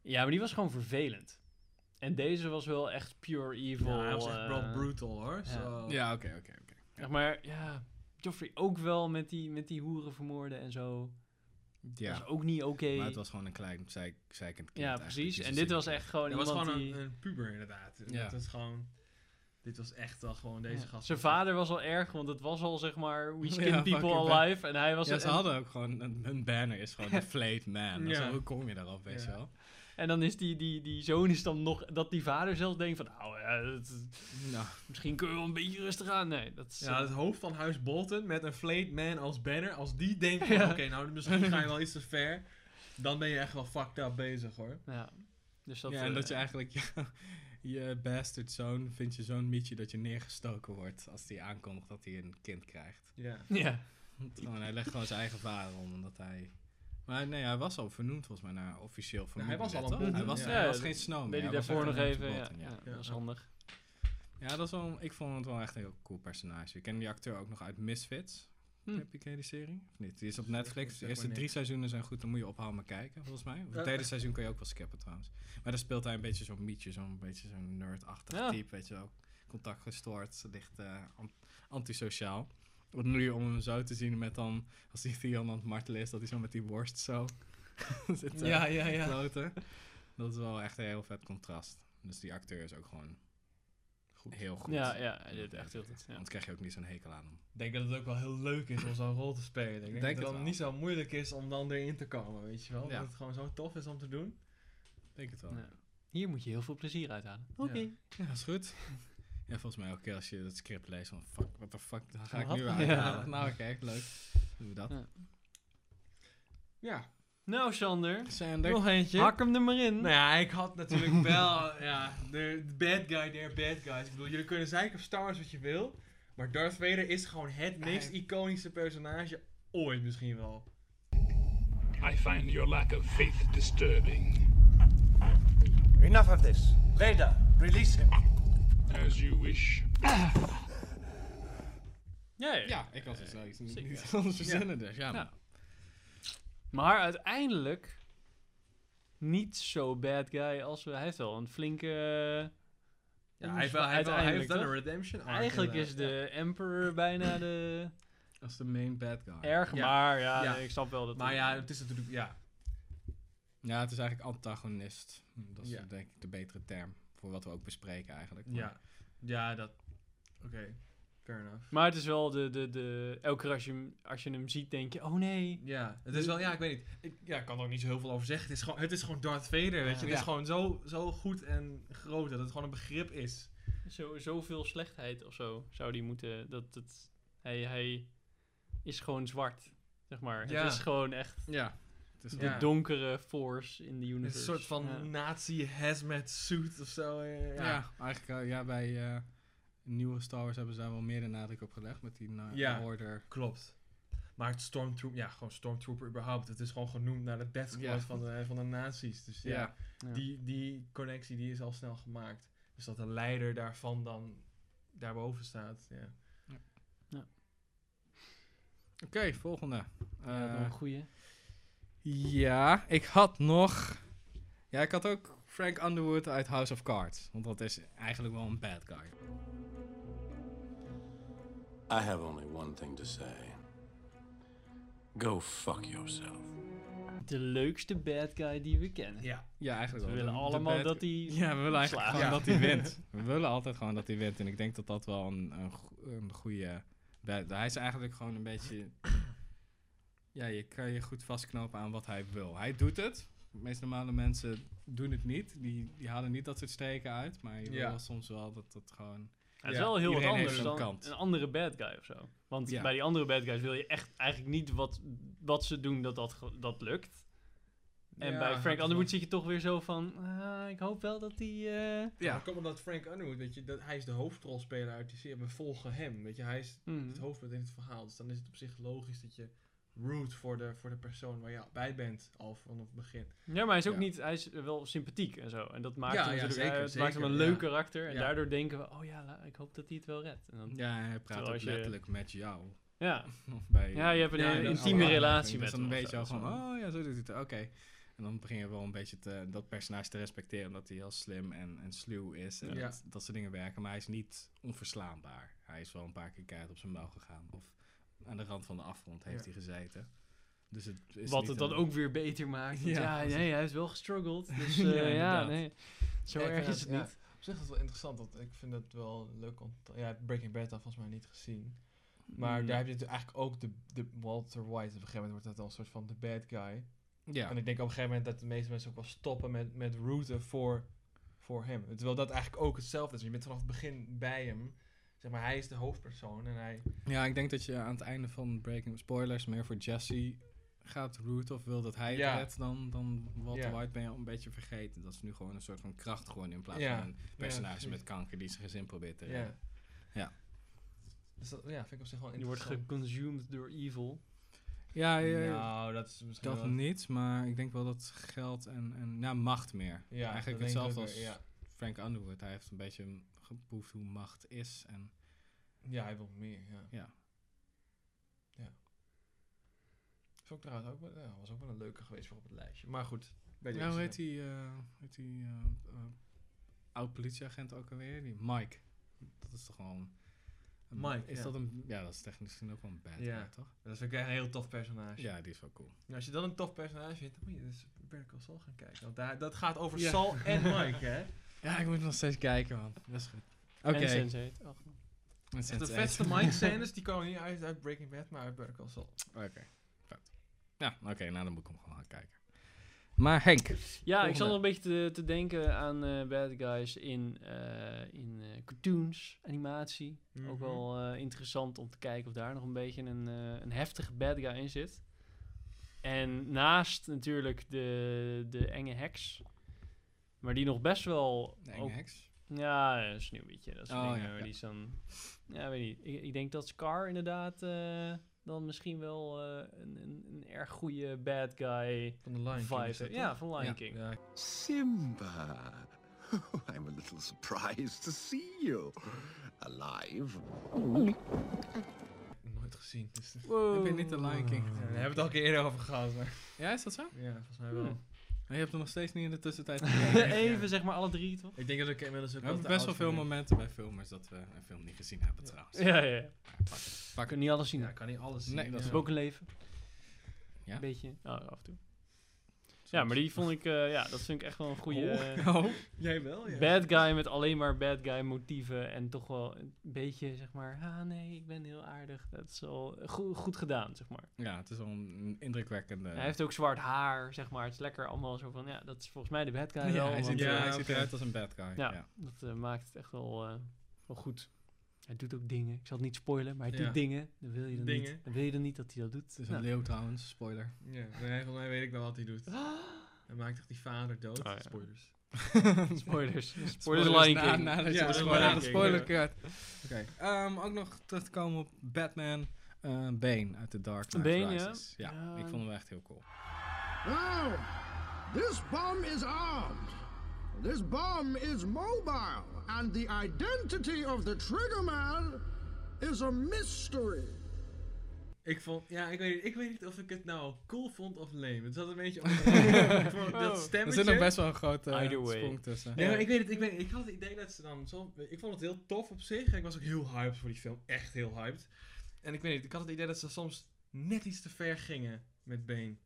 Speaker 1: Ja, maar die was gewoon vervelend. En deze was wel echt pure evil.
Speaker 3: Ja, hij was echt wel
Speaker 1: eh,
Speaker 3: brutal hoor. Zo.
Speaker 2: Ja, oké, oké, oké.
Speaker 1: Zeg maar, ja, Joffrey ook wel met die, met die hoeren vermoorden en zo.
Speaker 2: Ja.
Speaker 1: Dat is ook niet oké.
Speaker 2: Maar het was gewoon een klein zeik, zeikend kind.
Speaker 1: Ja,
Speaker 2: eigenlijk,
Speaker 1: precies.
Speaker 2: dus
Speaker 1: En
Speaker 2: dat
Speaker 1: dit
Speaker 2: is
Speaker 1: was
Speaker 2: niet-
Speaker 1: echt gewoon
Speaker 3: Dat was
Speaker 1: iemand
Speaker 3: gewoon
Speaker 1: die...
Speaker 3: een, een puber inderdaad.
Speaker 2: Ja.
Speaker 3: Dat is gewoon... Dit was echt al gewoon
Speaker 2: eh,
Speaker 3: deze gast.
Speaker 1: Zijn vader was al erg, want het was al zeg [laughs] maar We
Speaker 2: Ja,
Speaker 1: Skin People
Speaker 2: fucking
Speaker 1: Alive. En hij was
Speaker 2: Ja,
Speaker 1: en,
Speaker 2: ze hadden ook gewoon... Een, hun banner
Speaker 1: [laughs]
Speaker 2: is gewoon The Flayed Man.
Speaker 3: Ja.
Speaker 2: Zo, hoe kom je daarop, weet je
Speaker 3: Ja.
Speaker 2: wel?
Speaker 1: en dan is die, die, die zoon is dan nog... Dat die vader zelfs denkt van... Nou, ja, dat-
Speaker 2: Nou,
Speaker 1: misschien kunnen we wel een beetje rustig aan. Nee, dat is...
Speaker 3: Ja,
Speaker 1: eh,
Speaker 3: het hoofd van Huis Bolton met een flayed man als banner. Als die denkt, van,
Speaker 1: Ja.
Speaker 3: oké, nou misschien
Speaker 1: [laughs]
Speaker 3: ga je wel iets te ver. Dan ben je echt wel fucked up bezig hoor.
Speaker 1: ja. Dus dat,
Speaker 2: ja, en
Speaker 1: eh,
Speaker 2: dat je eigenlijk... Je, [laughs] je bastard zoon vindt je zo'n mietje dat je neergestoken wordt... als hij aankondigt dat hij een kind krijgt.
Speaker 3: Ja.
Speaker 1: [laughs] Ja,
Speaker 2: Gewoon, oh, hij legt gewoon zijn eigen vader om, omdat hij... Maar nee, hij was al vernoemd volgens mij naar officieel vernoemd.
Speaker 3: hij was al
Speaker 2: net,
Speaker 3: een
Speaker 2: toch? Hij
Speaker 3: Bolton,
Speaker 2: was,
Speaker 1: ja.
Speaker 2: hij
Speaker 1: Ja,
Speaker 2: was
Speaker 1: dat
Speaker 2: geen snowman.
Speaker 1: weet ik
Speaker 2: hij was
Speaker 1: daarvoor
Speaker 2: echt
Speaker 1: nog
Speaker 2: een
Speaker 1: even. Ja,
Speaker 2: Bolton,
Speaker 1: ja,
Speaker 2: ja.
Speaker 1: dat was
Speaker 3: Ja.
Speaker 1: handig.
Speaker 2: Ja, dat is wel, ik vond het wel echt een heel cool personage. Ik ken die acteur ook nog uit Misfits.
Speaker 1: Hm.
Speaker 2: Heb je ken je die serie? Of niet? Die is op
Speaker 3: Zeg-
Speaker 2: Netflix.
Speaker 3: zeg
Speaker 2: De
Speaker 3: maar
Speaker 2: eerste drie
Speaker 3: niks.
Speaker 2: seizoenen zijn goed, dan moet je ophouden maar kijken, volgens mij. Of
Speaker 3: Ja.
Speaker 2: het derde seizoen kan je ook wel skippen trouwens. Maar daar speelt hij een beetje zo'n mietje, zo'n beetje zo'n nerdachtig
Speaker 1: Ja.
Speaker 2: type, weet je wel. Contact gestoord, licht eh, an- antisociaal. Wat nu om hem zo te zien met dan, als hij Theon aan het martelen is, dat hij zo met die worst zo [laughs] zit eh,
Speaker 3: Ja, ja, ja.
Speaker 2: kloten. Dat is wel echt een heel vet contrast. Dus die acteur is ook gewoon
Speaker 3: Goed.
Speaker 2: heel goed.
Speaker 1: Ja, ja, hij deed echt heel goed. Ja.
Speaker 2: Want krijg je ook niet zo'n hekel aan hem.
Speaker 3: Ik denk dat het ook wel heel leuk is om zo'n rol te spelen. Ik denk,
Speaker 2: Denk
Speaker 3: dat
Speaker 2: het
Speaker 3: het dan
Speaker 2: wel.
Speaker 3: niet zo moeilijk is om dan erin te komen, weet je wel.
Speaker 2: Ja.
Speaker 3: Dat het gewoon zo tof is om te doen.
Speaker 2: Denk het wel.
Speaker 1: Ja. Hier moet je heel veel plezier uithalen.
Speaker 3: Oké.
Speaker 2: Ja, dat is goed. [laughs] Ja, volgens mij elke keer als je dat script leest van fuck, what the fuck, dan ga ik
Speaker 1: Wat?
Speaker 2: nu weer
Speaker 1: Ja.
Speaker 2: uithalen. Nou, oké, leuk. Doen we dat.
Speaker 1: Ja.
Speaker 3: Ja.
Speaker 1: Nou, Sander.
Speaker 2: Zijn er...
Speaker 3: Nog eentje.
Speaker 1: Hak hem er maar in.
Speaker 3: Nou ja, ik had natuurlijk [laughs] wel, ja, de de bad guy, der bad guys. Ik bedoel, jullie kunnen zeiken op Star Wars wat je wil, maar Darth Vader is gewoon het meest iconische personage ooit misschien wel.
Speaker 7: I find your lack of faith disturbing.
Speaker 6: Enough of this. Vader, release him.
Speaker 7: As you wish.
Speaker 1: Ja, ja.
Speaker 2: Ja, ik was dus nou iets niet
Speaker 1: zeker.
Speaker 2: niet [laughs] anders verzinnen, dus ja.
Speaker 1: Ja. Maar uiteindelijk niet zo bad guy als we. Hij heeft wel een flinke. eh,
Speaker 3: Ja, hij heeft, wel, hij heeft, wel- hij heeft wel
Speaker 1: Uiteindelijk,
Speaker 3: een redemption arc,
Speaker 1: Eigenlijk
Speaker 3: inderdaad.
Speaker 1: is de Emperor bijna de
Speaker 2: Als de main bad guy.
Speaker 1: erg,
Speaker 3: [laughs] Ja.
Speaker 1: maar ja,
Speaker 3: Ja.
Speaker 1: ik snap wel dat.
Speaker 3: Maar ja, het is natuurlijk, ja.
Speaker 2: Ja, het is eigenlijk antagonist. Dat is
Speaker 3: Ja.
Speaker 2: denk ik de betere term voor wat we ook bespreken eigenlijk. Maar
Speaker 3: Ja, ja dat, oké. fair enough.
Speaker 1: Maar het is wel de, de, de... Elke keer als je, hem- als je hem ziet, denk je... Oh nee.
Speaker 3: Ja, het is wel, ja, ik weet niet. Ik ja, ik kan er ook niet zo heel veel over zeggen. Het is gewoon, het is gewoon Darth Vader, weet je. Het
Speaker 2: Ja.
Speaker 3: is gewoon zo, zo goed en groot dat het gewoon een begrip is.
Speaker 1: Zo, zoveel slechtheid of zo zou die moeten... Dat, dat, hij, hij is gewoon zwart, zeg maar.
Speaker 3: Ja.
Speaker 1: Het is gewoon echt
Speaker 2: Ja. Het is
Speaker 1: de
Speaker 3: Ja.
Speaker 1: donkere force in de
Speaker 3: Een
Speaker 1: universe.
Speaker 3: soort van
Speaker 1: Ja.
Speaker 3: nazi-hazmat suit of zo. eh,
Speaker 2: Ja,
Speaker 3: Ja.
Speaker 2: eigenlijk eh, ja, bij eh, nieuwe Star Wars hebben ze daar wel meer de nadruk op gelegd met die na-
Speaker 3: Ja.
Speaker 2: order.
Speaker 3: Klopt. Maar het stormtrooper, ja, gewoon stormtrooper überhaupt. Het is gewoon genoemd naar de death squad
Speaker 2: Ja.
Speaker 3: van, de, van de nazi's. Dus ja,
Speaker 2: Ja.
Speaker 1: Ja.
Speaker 3: Die, die connectie die is al snel gemaakt. Dus dat de leider daarvan dan daarboven staat. Ja.
Speaker 2: Oké, volgende.
Speaker 1: Ja, nog een
Speaker 2: Eh,
Speaker 1: goeie.
Speaker 2: Ja, ik had nog. Ja, ik had ook Frank Underwood uit House of Cards. Want dat is eigenlijk wel een bad guy.
Speaker 8: I have only one thing to say. Go fuck yourself.
Speaker 1: De leukste bad guy die we kennen.
Speaker 3: ja.
Speaker 2: Ja, eigenlijk
Speaker 1: We
Speaker 2: wel.
Speaker 1: willen
Speaker 2: De- de
Speaker 1: allemaal
Speaker 2: bad-
Speaker 1: dat hij
Speaker 2: Ja, we willen eigenlijk
Speaker 1: slaagt.
Speaker 2: gewoon
Speaker 3: Ja.
Speaker 2: dat hij wint. We willen altijd gewoon dat hij wint. En ik denk dat dat wel een, een, go- een goede... bad- Hij is eigenlijk gewoon een beetje... Ja, je kan je goed vastknopen aan wat hij wil. Hij doet het. De meest normale mensen doen het niet. Die, die halen niet dat soort streken uit. Maar je wil
Speaker 3: Ja.
Speaker 2: wel soms wel dat dat gewoon...
Speaker 1: Het is
Speaker 3: Ja,
Speaker 1: wel heel wat
Speaker 2: iedereen heeft
Speaker 1: anders
Speaker 2: zo'n
Speaker 1: dan
Speaker 2: kant.
Speaker 1: een andere bad guy of zo. Want
Speaker 2: Ja.
Speaker 1: bij die andere bad guys wil je echt eigenlijk niet wat, wat ze doen dat dat, ge- dat lukt. En
Speaker 3: Ja,
Speaker 1: bij
Speaker 3: dat
Speaker 1: Frank
Speaker 3: is
Speaker 1: Underwood zit
Speaker 3: wel-
Speaker 1: je toch weer zo van... "Ah, ik hoop wel dat die... eh,
Speaker 3: Ja. Maar komt omdat Frank Underwood, weet je, dat, hij is de hoofdrolspeler uit die serie. We volgen hem, weet je. Hij is
Speaker 1: hmm."
Speaker 3: het hoofdpunt in het verhaal. Dus dan is het op zich logisch dat je root voor de, voor de persoon waar je bij bent al vanaf het begin.
Speaker 1: Ja, maar hij is ook
Speaker 2: Ja.
Speaker 1: niet... Hij is wel sympathiek en zo. En dat maakt
Speaker 3: Ja,
Speaker 1: hem
Speaker 3: ja,
Speaker 1: natuurlijk...
Speaker 3: zeker,
Speaker 1: eh, het maakt hem een
Speaker 3: zeker,
Speaker 1: leuk
Speaker 3: ja.
Speaker 1: karakter. En
Speaker 3: Ja.
Speaker 1: daardoor denken we... Oh ja, la- ik hoop dat hij het wel redt. En dan, ja.
Speaker 2: Ja, hij praat
Speaker 1: Terwijl
Speaker 2: ook
Speaker 1: als je-
Speaker 2: letterlijk met jou.
Speaker 1: Ja.
Speaker 2: Of bij,
Speaker 1: je hebt een
Speaker 3: Ja,
Speaker 1: hele
Speaker 3: dat-
Speaker 1: intieme
Speaker 3: oh, ja,
Speaker 1: relatie met
Speaker 2: dus dan
Speaker 1: hem.
Speaker 2: een
Speaker 1: of
Speaker 2: beetje
Speaker 1: zo.
Speaker 2: al
Speaker 1: Dat is
Speaker 2: van,
Speaker 1: wel-
Speaker 2: oh ja, zo doet hij het. Oké. En dan begin je wel een beetje te, dat personage te respecteren. Omdat hij heel slim en, en sluw is. En
Speaker 3: Ja.
Speaker 2: dat, dat soort dingen werken. Maar hij is niet onverslaanbaar. Hij is wel een paar keer keihard op zijn mouw gegaan. Of aan de rand van de afgrond heeft
Speaker 3: Ja.
Speaker 2: hij gezeten. Dus het is
Speaker 1: Wat
Speaker 2: niet
Speaker 1: het dan
Speaker 2: een-
Speaker 1: ook weer beter maakt. want Ja,
Speaker 2: Ja.
Speaker 1: nee, hij heeft wel gestruggeld.
Speaker 2: [laughs]
Speaker 1: Dus
Speaker 2: Ja,
Speaker 1: eh, ja,
Speaker 2: inderdaad.
Speaker 1: nee. Zo
Speaker 3: Ja, ik
Speaker 1: erg
Speaker 3: vind
Speaker 1: is het
Speaker 3: dat- ja.
Speaker 1: niet.
Speaker 3: Op zich is het wel interessant, want ik vind dat wel leuk om... te- Ja, Breaking Bad had volgens mij niet gezien. Maar
Speaker 1: Mm.
Speaker 3: daar heb je natuurlijk eigenlijk ook de, de Walter White. Op een gegeven moment wordt dat dan een soort van de bad guy.
Speaker 2: Ja.
Speaker 1: Mm.
Speaker 3: En ik denk op een gegeven moment dat de meeste mensen ook wel stoppen met, met rooten voor, voor hem. Terwijl dat eigenlijk ook hetzelfde is. Je bent vanaf het begin bij hem. Zeg maar, hij is de hoofdpersoon en hij...
Speaker 2: ja, ik denk dat je aan het einde van Breaking... Spoilers, meer voor Jesse gaat root of wil dat hij het
Speaker 3: Ja.
Speaker 2: redt, dan, dan Walter
Speaker 3: Ja.
Speaker 2: White ben je al een beetje vergeten. Dat is nu gewoon een soort van kracht geworden in plaats
Speaker 3: Ja.
Speaker 2: van een personage
Speaker 3: precies.
Speaker 2: met kanker die zijn gezin probeert te redden.
Speaker 3: Ja.
Speaker 2: Ja.
Speaker 3: Dus dat ja, vind ik op zich wel
Speaker 1: Je wordt
Speaker 3: interessant.
Speaker 1: geconsumed door evil.
Speaker 2: Ja, ja,
Speaker 3: Nou, dat is misschien
Speaker 2: dat
Speaker 3: wel-
Speaker 2: niet, maar ik denk wel dat geld en, en nou, macht meer.
Speaker 3: Ja,
Speaker 2: Eigenlijk
Speaker 3: dat denk ik
Speaker 2: hetzelfde
Speaker 3: ook
Speaker 2: als
Speaker 3: weer, Ja.
Speaker 2: Frank Underwood. Hij heeft een beetje geproefd hoe macht is. En
Speaker 3: ja, hij wil meer, ja.
Speaker 2: ja,
Speaker 3: Vond ik trouwens ook wel, ja, was ook wel een leuke geweest voor op het lijstje. Maar goed. Bij
Speaker 2: ja hoe heet die, eh, hoe heet die eh, eh, oud politieagent ook alweer? Die Mike. Dat is toch gewoon... een-
Speaker 3: Mike,
Speaker 2: is
Speaker 3: ja.
Speaker 2: dat een... Ja, dat is technisch gezien ook wel een bad guy,
Speaker 3: Ja.
Speaker 2: toch?
Speaker 3: Dat vind ik echt een heel tof personage.
Speaker 2: Ja, die is wel cool.
Speaker 3: En Als je dan een tof personage vindt, dan moet je dus Better Call Saul gaan kijken. Want daar, dat gaat over
Speaker 2: Ja.
Speaker 3: Saul en Mike,
Speaker 2: [laughs]
Speaker 3: hè?
Speaker 2: Ja, ik moet nog steeds kijken, man. Dat is goed. Oké.
Speaker 1: En Sense8. Ach,
Speaker 2: Met
Speaker 3: Echt de
Speaker 2: Sense8.
Speaker 3: vetste Mike-scènes, die komen niet uit, uit Breaking Bad, maar uit Better Call Saul.
Speaker 2: [laughs] Oké, vet. Ja, oké, nou dan moet ik hem gewoon gaan kijken. Maar Henk.
Speaker 1: Ja, ik
Speaker 2: Volgende.
Speaker 1: zat nog een beetje te, te denken aan eh, bad guys in, eh, in eh, cartoons, animatie.
Speaker 2: Mhm.
Speaker 1: Ook wel eh, interessant om te kijken of daar nog een beetje een, eh, een heftige bad guy in zit. En naast natuurlijk de, de enge heks. Maar die nog best wel...
Speaker 2: De
Speaker 1: ook-
Speaker 2: enge heks.
Speaker 1: Ja, een sneeuwwitje. Dat soort
Speaker 2: Oh,
Speaker 1: dingen.
Speaker 2: ja,
Speaker 1: maar
Speaker 2: ja.
Speaker 1: Die is dan... Ja, weet niet. Ik, ik denk dat Scar inderdaad eh, dan misschien wel eh, een, een, een erg goede bad guy
Speaker 3: Van de Lion King
Speaker 1: vibe
Speaker 3: is dat,
Speaker 1: heeft. Ja,
Speaker 3: toch?
Speaker 1: van Lion
Speaker 2: Ja.
Speaker 1: King.
Speaker 3: Ja,
Speaker 8: Simba! [laughs] I'm a little surprised to see you. Alive.
Speaker 3: nooit gezien. Dus, daar
Speaker 2: Heb je niet de Lion King gezien?
Speaker 3: hebben we het al een keer eerder over gehad, maar...
Speaker 2: Ja, is dat zo?
Speaker 3: Ja, volgens mij wel.
Speaker 1: Hmm.
Speaker 2: Maar je hebt hem nog steeds niet in de [laughs] tussentijd
Speaker 1: [laughs] Even zeg maar alle drie, toch?
Speaker 3: Ik denk dat ik inmiddels ook
Speaker 2: We hebben
Speaker 3: te
Speaker 2: best wel
Speaker 3: oud
Speaker 2: veel
Speaker 3: voor ben.
Speaker 2: momenten bij filmers dat we een film niet gezien hebben trouwens.
Speaker 1: Ja, ja. We
Speaker 2: Pak
Speaker 1: kunnen niet alles zien.
Speaker 3: Ja,
Speaker 1: hè.
Speaker 3: ik kan niet alles zien.
Speaker 2: Nee, dat
Speaker 1: We
Speaker 2: is
Speaker 3: ja.
Speaker 1: hebben ook een leven.
Speaker 2: Ja.
Speaker 1: Een beetje. Oh, af en toe. Ja, maar die vond ik, eh, ja, dat vind ik echt wel een goede eh,
Speaker 2: Oh,
Speaker 3: Jij wel, ja.
Speaker 1: bad guy met alleen maar bad guy motieven en toch wel een beetje, zeg maar, ah nee, ik ben heel aardig. Dat is wel goed, goed gedaan, zeg maar.
Speaker 2: Ja, het is wel een indrukwekkende...
Speaker 1: Hij heeft ook zwart haar, zeg maar. Het is lekker allemaal zo van, ja, dat is volgens mij de bad guy
Speaker 2: ja,
Speaker 1: wel.
Speaker 2: hij ziet,
Speaker 1: want,
Speaker 3: ja,
Speaker 2: er-
Speaker 1: eh,
Speaker 2: hij ziet
Speaker 3: oké.
Speaker 2: eruit als een bad guy.
Speaker 1: ja,
Speaker 2: Ja.
Speaker 1: dat eh, maakt het echt wel, eh, wel goed. Hij doet ook dingen. Ik zal het niet spoilen, maar hij
Speaker 3: Ja.
Speaker 1: doet dingen. Dan wil je dan,
Speaker 3: Dingen.
Speaker 1: Niet, dan wil je dan niet dat hij dat
Speaker 2: [laughs]
Speaker 1: doet.
Speaker 2: Het is
Speaker 1: Nou.
Speaker 2: een leeuw
Speaker 1: [laughs]
Speaker 2: trouwens, spoiler.
Speaker 3: ja nee, volgens mij weet ik wel wat hij doet. Hij maakt toch die vader dood?
Speaker 1: Oh, ja.
Speaker 3: Spoilers.
Speaker 1: Spoilers.
Speaker 2: Spoilers
Speaker 1: Spoilers Lion
Speaker 2: na-
Speaker 1: King.
Speaker 2: nadat je
Speaker 3: Ja,
Speaker 2: de
Speaker 3: dat is
Speaker 2: spoiler-
Speaker 3: Lion
Speaker 2: de
Speaker 3: King,
Speaker 2: spoiler cut. Oké, ehm, ook nog terug te komen op Batman eh Bane uit The Dark Knight
Speaker 1: Bane, ja.
Speaker 2: Rises. Ja,
Speaker 1: Ja.
Speaker 2: ik vond hem echt heel cool.
Speaker 9: Now, Oh, this bomb is armed. This bomb is mobile, and the identity of the trigger man is a mystery.
Speaker 3: Ik vond, ja, ik weet, niet, ik weet niet of ik het nou cool vond of lame. Het zat een beetje op Ik vond dat
Speaker 2: Er
Speaker 3: stemmetje.
Speaker 2: zit nog best wel een grote eh,
Speaker 1: Either way.
Speaker 2: sprong tussen.
Speaker 3: Nee, maar ik weet het, ik, weet, ik had het idee dat ze dan zo... Ik vond het heel tof op zich. En ik was ook heel hyped voor die film. Echt heel hyped. En ik weet niet, ik had het idee dat ze soms net iets te ver gingen met Bane.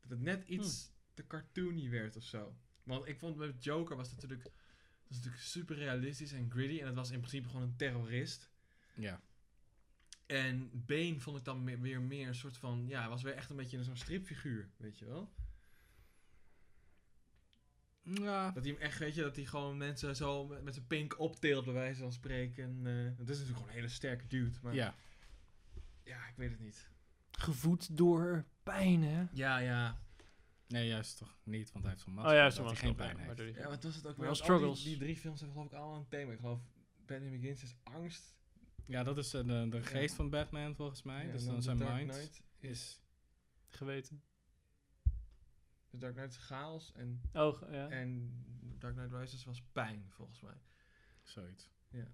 Speaker 3: Dat het net iets te cartoony werd of zo. Want ik vond met Joker was dat natuurlijk... Dat is natuurlijk super realistisch en gritty. En het was in principe gewoon een terrorist.
Speaker 2: Ja.
Speaker 3: En Bane vond ik dan me- weer meer een soort van... Ja, hij was weer echt een beetje zo'n stripfiguur, weet je wel?
Speaker 2: Ja.
Speaker 3: Dat hij hem echt, weet je, dat hij gewoon mensen zo met, met zijn pink opteelt, bij wijze van spreken. En, eh, dat is natuurlijk gewoon een hele sterke dude. Maar ja.
Speaker 2: ja.
Speaker 3: ik weet het niet.
Speaker 1: Gevoed door pijn, hè?
Speaker 3: Ja, ja.
Speaker 2: Nee, juist toch niet, want hij heeft zo'n masker.
Speaker 1: Oh ja,
Speaker 2: dat
Speaker 1: zo'n
Speaker 2: hij geen pijn heeft.
Speaker 3: Ja, wat was het ook
Speaker 1: Maar wel
Speaker 3: Want al die-
Speaker 1: struggles.
Speaker 3: Die, drie films hebben geloof ik allemaal een thema. Ik geloof Batman Begins is angst.
Speaker 2: Ja, dat is eh, de, de geest van Batman volgens mij.
Speaker 3: Ja,
Speaker 2: dus
Speaker 3: en
Speaker 2: dan
Speaker 3: The
Speaker 2: zijn
Speaker 3: Dark
Speaker 2: mind
Speaker 3: Knight
Speaker 2: is...
Speaker 1: Geweten.
Speaker 3: The Dark Knight is chaos. En,
Speaker 1: Oh, ge-
Speaker 2: Eh, [laughs]
Speaker 1: ja.
Speaker 3: en Dark Knight Rises was pijn, volgens mij.
Speaker 2: Zoiets.
Speaker 3: Ja.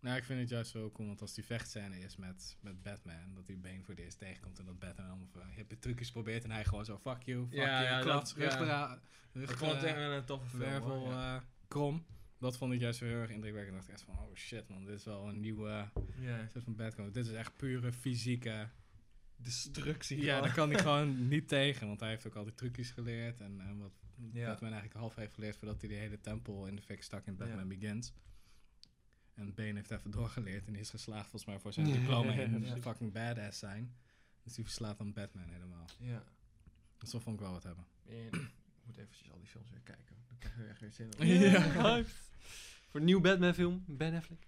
Speaker 2: Nou, ik vind het juist wel cool, want als die vechtscène is met, met Batman, dat hij Bane voor het eerst tegenkomt en dat Batman allemaal van, hippe trucjes probeert en hij gewoon zo, fuck you, fuck
Speaker 3: Ja,
Speaker 2: you,
Speaker 3: ja,
Speaker 2: klapt,
Speaker 3: dat-
Speaker 2: rug
Speaker 3: ja.
Speaker 2: eraan,
Speaker 3: Ik
Speaker 2: rug
Speaker 3: vond het echt
Speaker 2: eraan,
Speaker 3: wel een toffe film. hoor,
Speaker 2: wervel,
Speaker 3: ja.
Speaker 2: eh, krom. Dat vond ik juist wel heel erg indrukwekkend. Ik dacht echt van, oh shit man, dit is wel een nieuwe
Speaker 3: Ja.
Speaker 2: soort van Batman. Dit is echt pure fysieke...
Speaker 3: Destructie.
Speaker 2: Ja,
Speaker 3: gewoon.
Speaker 2: daar kan hij gewoon niet tegen, want hij heeft ook al die trucjes geleerd en, en wat
Speaker 3: Ja.
Speaker 2: Batman eigenlijk half heeft geleerd voordat hij die hele tempel in de fik stak in Batman Begins. En Bane heeft even doorgeleerd en die is geslaagd volgens mij
Speaker 3: [laughs]
Speaker 2: voor zijn diploma en
Speaker 3: Ja.
Speaker 2: fucking badass zijn. Dus die verslaat dan Batman helemaal.
Speaker 3: [laughs] ja.
Speaker 2: Dus dat vond ik wel wat hebben.
Speaker 3: En ik moet eventjes al die films weer kijken. Dan krijg ik er echt weer zin in.
Speaker 1: [laughs] Ja.
Speaker 3: [laughs]
Speaker 1: Hyped. Voor een nieuw Batman-film, Ben Affleck.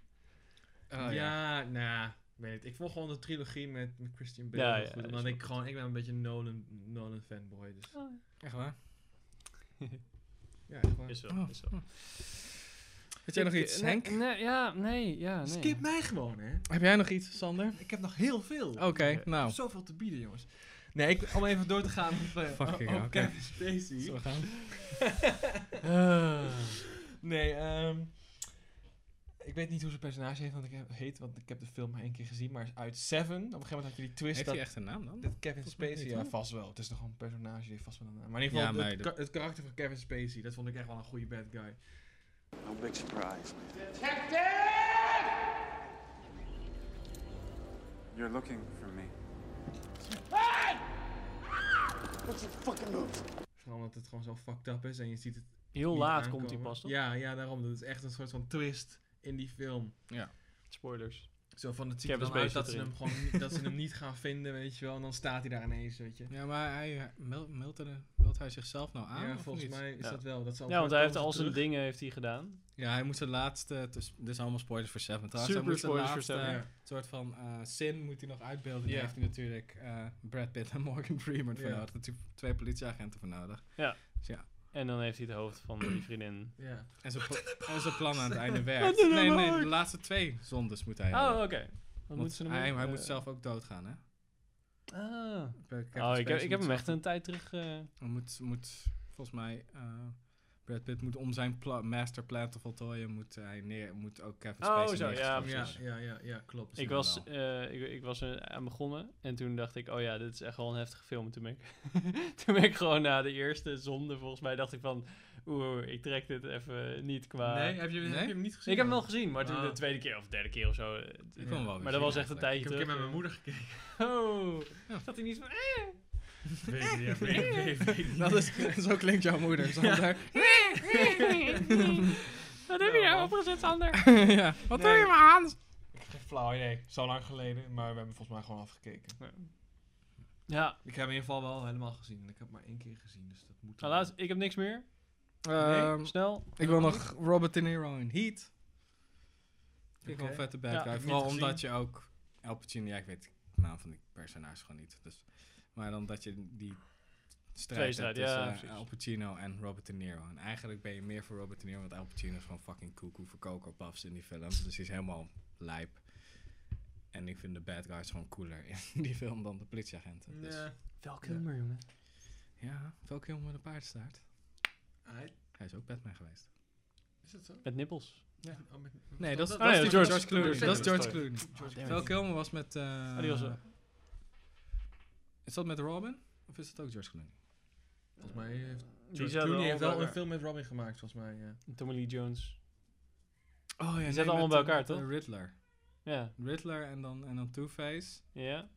Speaker 2: Oh,
Speaker 3: ja, nou, ik weet het. Ik volg gewoon de trilogie met, met Christian Bale.
Speaker 1: Ja,
Speaker 3: heel
Speaker 1: ja,
Speaker 3: goed,
Speaker 1: is
Speaker 3: omdat
Speaker 1: wel
Speaker 3: ik gewoon, ik ben een beetje een Nolan, Nolan fanboy. Dus
Speaker 2: Echt waar?
Speaker 3: ja, echt waar.
Speaker 1: zo,
Speaker 2: Oh. Had jij nog iets,
Speaker 3: eh,
Speaker 2: Henk?
Speaker 1: Nee, ja, nee, ja, nee.
Speaker 3: Skip mij gewoon, hè.
Speaker 2: Heb jij nog iets, Sander?
Speaker 3: Ik heb nog heel veel.
Speaker 2: Oké, nou.
Speaker 3: Zoveel te bieden, jongens. Nee, ik, om even door te gaan op, eh,
Speaker 2: Fuck
Speaker 3: op-
Speaker 2: you,
Speaker 3: op
Speaker 2: oké.
Speaker 3: Kevin Spacey. Eh,
Speaker 2: Zullen we gaan?
Speaker 1: Eh,
Speaker 3: Nee, ehm, ik weet niet hoe zijn personage heet want, ik heb, heet, want ik heb de film maar één keer gezien. Maar uit Seven, op een gegeven moment had je die twist
Speaker 2: Heeft
Speaker 3: dat
Speaker 2: hij echt een naam dan?
Speaker 3: Dat Kevin
Speaker 2: Volgens mij
Speaker 3: Spacey,
Speaker 2: niet,
Speaker 3: ja,
Speaker 2: hoor.
Speaker 3: vast wel. Het is nog een personage die heeft vast wel een naam. Maar in ieder geval,
Speaker 2: Ja,
Speaker 3: het,
Speaker 2: meiden.
Speaker 3: ka- het karakter van Kevin Spacey, dat vond ik echt wel een goede bad guy.
Speaker 4: No big surprise.
Speaker 10: You're looking for me.
Speaker 3: Vooral omdat het gewoon zo fucked up is en je ziet het
Speaker 1: Heel
Speaker 3: niet
Speaker 1: laat
Speaker 3: aankomen.
Speaker 1: komt hij pas, toch?
Speaker 3: Ja, ja, daarom. Dat is echt een soort van twist in die film.
Speaker 1: Spoilers.
Speaker 3: Zo van, het ziet er
Speaker 1: Kevin
Speaker 3: dan uit
Speaker 1: Spacey
Speaker 3: dat ze, hem
Speaker 1: erin.
Speaker 3: gewoon, niet- dat ze hem niet gaan vinden, weet je wel. En dan staat hij daar ineens, weet je.
Speaker 2: Ja, maar hij, eh, meld, meldde- meldt hij zichzelf nou aan?
Speaker 3: ja,
Speaker 2: of
Speaker 3: volgens
Speaker 2: niet?
Speaker 3: mij is
Speaker 1: Ja.
Speaker 3: dat wel. Dat zal
Speaker 1: Ah, Ja, want hij heeft
Speaker 3: komen
Speaker 1: al zijn
Speaker 3: terug.
Speaker 1: dingen heeft hij gedaan.
Speaker 2: Ja, hij moet zijn laatste... Dus, dit is allemaal spoilers voor Seven trouwens.
Speaker 1: Super
Speaker 2: hij moet zijn
Speaker 1: spoilers voor
Speaker 2: laatste
Speaker 1: Seven.
Speaker 2: eh, soort van eh, sin moet hij nog uitbeelden.
Speaker 3: Ja.
Speaker 2: Daar heeft hij natuurlijk eh, Brad Pitt en Morgan Freeman voor
Speaker 3: Ja.
Speaker 2: nodig. Natuurlijk twee politieagenten voor nodig.
Speaker 1: Ja.
Speaker 2: Dus ja.
Speaker 1: En dan heeft hij het hoofd van die vriendin.
Speaker 3: Ja.
Speaker 2: En zijn, pla- en zijn plan aan het einde werkt. Nee, nee, de laatste twee zondes moet hij
Speaker 1: Oh,
Speaker 2: hebben.
Speaker 1: oké. Wat
Speaker 2: Want
Speaker 1: moeten ze hem
Speaker 2: hij,
Speaker 1: doen?
Speaker 2: hij
Speaker 1: Eh,
Speaker 2: moet zelf ook doodgaan, hè?
Speaker 1: Ah.
Speaker 2: Bij Kevin
Speaker 1: Oh, ik heb,
Speaker 2: Spacey
Speaker 1: ik heb
Speaker 2: moet
Speaker 1: hem echt
Speaker 2: zelf-
Speaker 1: een tijd terug... eh,
Speaker 2: Hij Moet, moet, volgens mij... eh, Brad Pitt moet om zijn pla- masterplan te voltooien... moet hij neer, moet ook Kevin
Speaker 1: Oh,
Speaker 2: Spacey
Speaker 1: zo, ja,
Speaker 2: neergeschoten
Speaker 3: Ja,
Speaker 2: worden.
Speaker 3: ja, ja, ja, klopt.
Speaker 1: ik,
Speaker 2: wel.
Speaker 1: was, eh, ik, ik was er aan begonnen en toen dacht ik, oh ja, dit is echt wel een heftige film. En Toen ben ik, [laughs] toen ben ik gewoon na de eerste zonde, volgens mij, dacht ik van, oeh, ik trek dit even niet qua...
Speaker 3: Nee, heb je, heb
Speaker 2: Nee?
Speaker 3: je hem niet gezien?
Speaker 1: ik heb hem wel gezien, maar toen
Speaker 3: Ah.
Speaker 1: de tweede keer of de derde keer of zo. eh,
Speaker 2: Ik wil hem wel weer
Speaker 1: maar dat
Speaker 2: zien
Speaker 1: was echt een
Speaker 2: eigenlijk.
Speaker 3: Ik
Speaker 1: [laughs] tijdje eh.
Speaker 3: heb een keer
Speaker 1: terug.
Speaker 3: met mijn moeder gekeken.
Speaker 1: Oh, zat hij niet van, eh?
Speaker 3: Weet je, ja, weet je, weet je.
Speaker 2: Dat is, zo klinkt jouw moeder, Sander.
Speaker 11: Wat heb je nou opgezet, Sander?
Speaker 2: ja.
Speaker 11: Wat
Speaker 3: Nee.
Speaker 11: doe je maar, Hans?
Speaker 3: Ik heb geen flauw idee. Zo lang geleden, maar we hebben volgens mij gewoon afgekeken.
Speaker 1: Ja.
Speaker 3: Ik heb hem in ieder geval wel helemaal gezien. En ik heb hem maar één keer gezien, dus dat moet...
Speaker 1: Nou, laat, ik heb niks meer.
Speaker 2: Ehm,
Speaker 1: snel.
Speaker 2: Ik wil nog Robert De Niro in Heat. Vind ik wel een
Speaker 1: Oké.
Speaker 2: vette bad
Speaker 1: Ja,
Speaker 2: guy.
Speaker 1: niet
Speaker 2: Vooral
Speaker 1: gezien.
Speaker 2: omdat je ook Al Pacino, ja, ik weet de naam van die personage gewoon niet. Dus, maar dan dat je die strijd
Speaker 1: Tweestrijd,
Speaker 2: hebt
Speaker 1: ja,
Speaker 2: tussen
Speaker 1: precies.
Speaker 2: eh, Al Pacino en Robert De Niro. En eigenlijk ben je meer voor Robert De Niro, want Al Pacino is gewoon fucking koekoe voor Coco Puffs in die film. Dus hij is helemaal lijp. En ik vind de bad guys gewoon cooler [laughs] in die film dan de politieagenten. Dus,
Speaker 3: Ja.
Speaker 1: Welke nummer, jongen?
Speaker 2: ja, welke jongen met een paardenstaart?
Speaker 3: Hij-
Speaker 2: Hij is ook Batman geweest.
Speaker 3: Is dat zo?
Speaker 1: Met nippels.
Speaker 3: Ja. Oh, met-
Speaker 2: Nee, dat is,
Speaker 1: Ah,
Speaker 2: dat is
Speaker 1: ja,
Speaker 2: die
Speaker 1: George-
Speaker 2: George, Clooney.
Speaker 1: George
Speaker 2: Dat is George
Speaker 1: Clooney. Ah,
Speaker 2: Clooney.
Speaker 1: George
Speaker 2: Vel
Speaker 1: Clooney.
Speaker 2: Kilmer was met... eh,
Speaker 1: die was er.
Speaker 2: is dat met Robin? Of is dat ook George Clooney?
Speaker 3: Volgens mij eh, heeft...
Speaker 1: Die
Speaker 3: George
Speaker 1: zouden
Speaker 3: Clooney heeft
Speaker 1: allemaal
Speaker 3: wel
Speaker 1: bij
Speaker 3: een film met Robin gemaakt, volgens mij.
Speaker 2: eh.
Speaker 3: Ja.
Speaker 1: Tommy Lee Jones.
Speaker 2: Oh ja,
Speaker 1: Die zaten allemaal bij elkaar, toch?
Speaker 2: eh, Riddler.
Speaker 1: Ja.
Speaker 2: Riddler en dan, en dan Two-Face.
Speaker 1: Ja.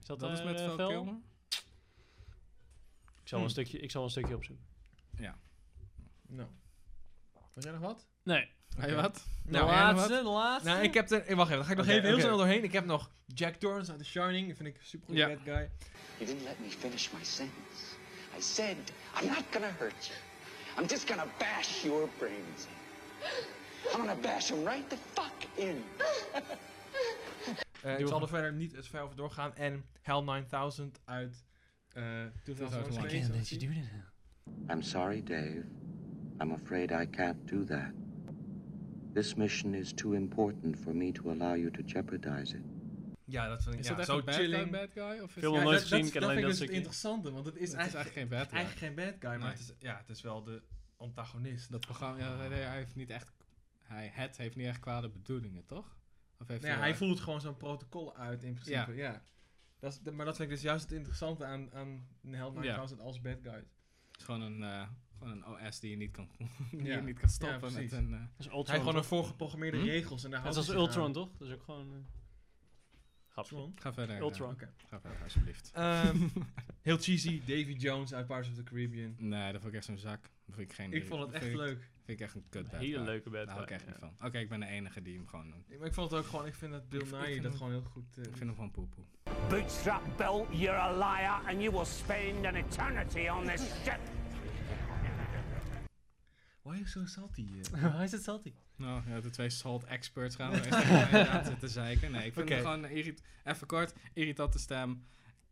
Speaker 1: Is dat,
Speaker 2: Dat is
Speaker 1: daar,
Speaker 2: met
Speaker 1: eh,
Speaker 2: Val
Speaker 1: Vel?
Speaker 2: Kilmer?
Speaker 1: Ik zal,
Speaker 3: Hmm.
Speaker 1: een stukje, ik zal een stukje opzoeken.
Speaker 2: Ja.
Speaker 3: Nou. Was jij nog wat?
Speaker 1: Nee.
Speaker 2: Hey, wat?
Speaker 1: De
Speaker 3: Nou, jij nog
Speaker 1: laatste,
Speaker 3: wat?
Speaker 1: de laatste.
Speaker 3: Nou, ik heb er... eh, Wacht even, dan ga ik nog
Speaker 1: Oké,
Speaker 3: even heel
Speaker 1: oké.
Speaker 3: snel doorheen. Ik heb nog Jack Torrance uit The Shining. Dat vind ik een supergoed
Speaker 2: Ja.
Speaker 3: bad guy.
Speaker 12: You didn't let me finish my sentence. I said, I'm not gonna hurt you. I'm just gonna bash your brains in. I'm gonna bash them right the fuck in.
Speaker 3: Eh, ik
Speaker 12: Doe
Speaker 3: zal
Speaker 12: maar.
Speaker 3: er verder niet het ver over doorgaan. En Hell 9000 uit eh 2001.
Speaker 13: I'm sorry, Dave. I'm afraid I can't do that. This mission is too important for me to allow you to jeopardize it.
Speaker 3: Ja, dat vind ik
Speaker 2: Is
Speaker 3: ja,
Speaker 2: dat echt
Speaker 3: zo
Speaker 2: een bad guy,
Speaker 3: chilling.
Speaker 2: bad guy? Of is
Speaker 1: Film
Speaker 2: het-
Speaker 1: nooit
Speaker 3: dat-
Speaker 1: gezien,
Speaker 3: dat,
Speaker 1: ik ken
Speaker 3: dat
Speaker 1: alleen dat
Speaker 3: vind ik dus het
Speaker 1: stukje.
Speaker 3: interessante, want het is,
Speaker 2: Het is
Speaker 3: eigenlijk,
Speaker 2: eigenlijk geen bad guy.
Speaker 3: Eigenlijk geen bad guy, maar
Speaker 2: Nee.
Speaker 3: het is, ja, het is wel de antagonist.
Speaker 2: Dat programma... Ja, nee, nee, hij heeft niet echt... Hij het heeft niet echt kwade bedoelingen, toch? Of heeft
Speaker 3: Nou ja,
Speaker 2: wel
Speaker 3: hij
Speaker 2: echt-
Speaker 3: voelt gewoon zo'n protocol uit in principe, ja.
Speaker 2: Ja.
Speaker 3: Dat is, dat- maar dat vind ik dus juist het interessante aan, aan Hell
Speaker 2: Ja.
Speaker 3: 9000 als bad guy.
Speaker 2: Het is gewoon een, eh, gewoon een OS die je niet kan, [laughs] die
Speaker 3: Ja.
Speaker 2: je niet kan
Speaker 3: Ja,
Speaker 2: stoppen met
Speaker 3: precies.
Speaker 2: een...
Speaker 3: Dat
Speaker 2: eh,
Speaker 3: is Ultron, Hij heeft gewoon een voorgeprogrammeerde
Speaker 2: Hm?
Speaker 3: regels en daar
Speaker 1: Dat
Speaker 3: houdt
Speaker 1: is
Speaker 3: hij
Speaker 1: als
Speaker 3: zich
Speaker 1: Ultron,
Speaker 3: aan.
Speaker 1: toch? Dat is ook gewoon... eh, grapje.
Speaker 3: Ultron?
Speaker 2: Ga verder. eh,
Speaker 1: Ultron.
Speaker 2: oké. Ga verder, alsjeblieft.
Speaker 3: [laughs] Ehm, heel cheesy, Davy Jones uit Pirates of the Caribbean.
Speaker 2: Nee, dat vond ik echt zo'n zak. Dat vind ik geen...
Speaker 3: Ik vond het
Speaker 2: dat
Speaker 3: echt
Speaker 2: vind ik-
Speaker 3: leuk.
Speaker 2: Vind ik echt een kut bad
Speaker 1: Hele
Speaker 2: guy.
Speaker 1: leuke bad
Speaker 2: Daar hou ik
Speaker 1: guy,
Speaker 2: echt niet
Speaker 1: ja.
Speaker 2: van. Nou, Oké, ik ben de enige die hem gewoon...
Speaker 3: Ik, maar ik vond het ook gewoon, ik vind dat Bill
Speaker 2: Ik- ik
Speaker 3: Nye
Speaker 2: vind
Speaker 3: dat
Speaker 2: hem-
Speaker 3: gewoon heel goed... eh,
Speaker 2: Ik vind hem gewoon poepoe.
Speaker 14: Bootstrap belt, you're a liar, and you will spend an eternity on this ship.
Speaker 3: Why are you so salty? eh? [laughs]
Speaker 1: Hij is het salty.
Speaker 2: Nou, ja, de twee salt experts [laughs] gaan we echt aan zitten zeiken. Nee, ik vind
Speaker 1: Oké.
Speaker 2: het gewoon... Irrit even kort, irritante stem.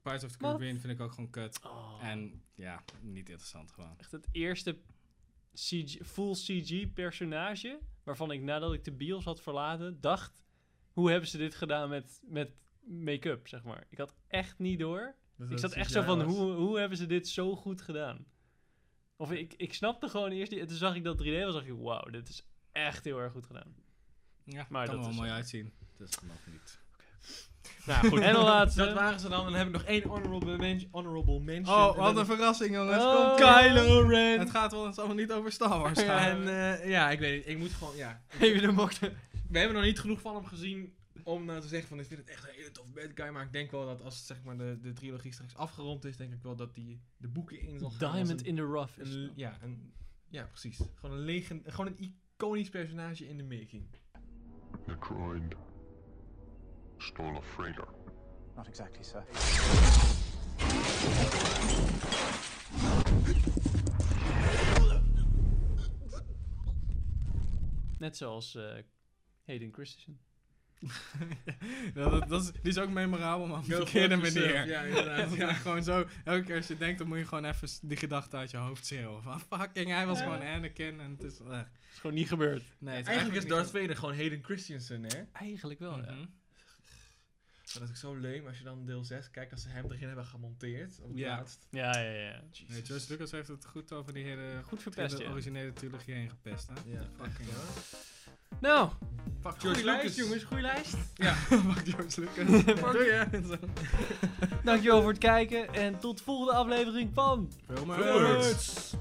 Speaker 2: Pirates of the
Speaker 1: Wat?
Speaker 2: Caribbean vind ik ook gewoon kut.
Speaker 1: Oh.
Speaker 2: En ja, niet interessant gewoon.
Speaker 1: Echt het eerste CG, full CG personage... waarvan ik nadat ik de bios had verlaten dacht... hoe hebben ze dit gedaan met, met make-up, zeg maar. Ik had echt niet door.
Speaker 3: Dat
Speaker 1: ik
Speaker 3: het
Speaker 1: zat echt
Speaker 3: CGI
Speaker 1: zo van,
Speaker 3: was.
Speaker 1: hoe, hoe hebben ze dit zo goed gedaan? Of ik, ik snapte gewoon eerst... niet- En toen zag ik dat 3D was, dacht ik... wauw, dit is echt heel erg goed gedaan.
Speaker 2: Ja,
Speaker 1: Maar dat
Speaker 2: kan er wel
Speaker 1: is-
Speaker 2: mooi uitzien. Dus nog niet.
Speaker 1: Nou
Speaker 3: [laughs]
Speaker 1: goed, en de laatste.
Speaker 3: Dat waren ze dan. En dan heb ik nog één honorable, men- honorable mention.
Speaker 2: Oh,
Speaker 3: En dan-
Speaker 2: wat een verrassing jongens.
Speaker 3: Oh,
Speaker 2: Komt
Speaker 3: Kylo Ren.
Speaker 2: Het gaat wel eens allemaal niet over Star Wars gaan.
Speaker 3: En eh, ja, ik weet niet. Ik moet gewoon, [laughs] ja.
Speaker 1: Even de mokte.
Speaker 3: We hebben nog niet genoeg van hem gezien om nou te zeggen van ik vind het echt een hele tof bad guy. Maar ik denk wel dat als zeg maar, de, de trilogie straks afgerond is, denk ik wel dat hij de boeken in zal gaan. als
Speaker 1: Diamond
Speaker 3: een-
Speaker 1: in the rough. is
Speaker 3: een-
Speaker 1: dat.
Speaker 3: ja, een, ja, precies. Gewoon een, legend, gewoon een iconisch personage in de [laughs] making.
Speaker 15: The droid stole a freighter.
Speaker 6: Not exactly, sir.
Speaker 1: Net zoals eh Hayden Christensen.
Speaker 2: Ja, dat, dat is, die is ook memorabel, maar op de
Speaker 1: Go
Speaker 2: verkeerde
Speaker 1: fuck yourself.
Speaker 2: manier.
Speaker 1: Ja, inderdaad,
Speaker 3: [laughs]
Speaker 2: Dat
Speaker 1: ja.
Speaker 2: is gewoon zo, elke keer als je denkt, dan moet je gewoon even s- die gedachte uit je hoofd schreeuwen. Van fucking, hij was
Speaker 1: Ja.
Speaker 2: gewoon Anakin en het is... eh.
Speaker 1: is gewoon niet gebeurd.
Speaker 2: Nee, het is
Speaker 3: Eigenlijk is
Speaker 2: niet
Speaker 3: Darth
Speaker 2: zo.
Speaker 3: Vader gewoon Hayden Christensen, hè?
Speaker 1: Eigenlijk wel, ja.
Speaker 2: Mhm.
Speaker 3: Maar dat is ook zo leuk als je dan deel 6 kijkt, als ze hem erin hebben gemonteerd. Op het
Speaker 2: Ja.
Speaker 3: laatst.
Speaker 1: Ja, ja, ja.
Speaker 2: Nee, George Lucas heeft het goed over die hele...
Speaker 1: Goed verpest,
Speaker 2: de
Speaker 1: ja.
Speaker 2: originele trilogie heen gepest, hè?
Speaker 3: Ja,
Speaker 2: fucking.
Speaker 1: Nou.
Speaker 3: Fuck
Speaker 1: Goeie
Speaker 3: George Lucas.
Speaker 1: lijst,
Speaker 3: [laughs]
Speaker 1: jongens. Goeie lijst.
Speaker 2: Ja, [laughs] fuck George Lucas.
Speaker 1: Fuck
Speaker 2: Doei.
Speaker 1: Dankjewel voor het kijken en tot de volgende aflevering van...
Speaker 2: Filmers.
Speaker 1: Filmers.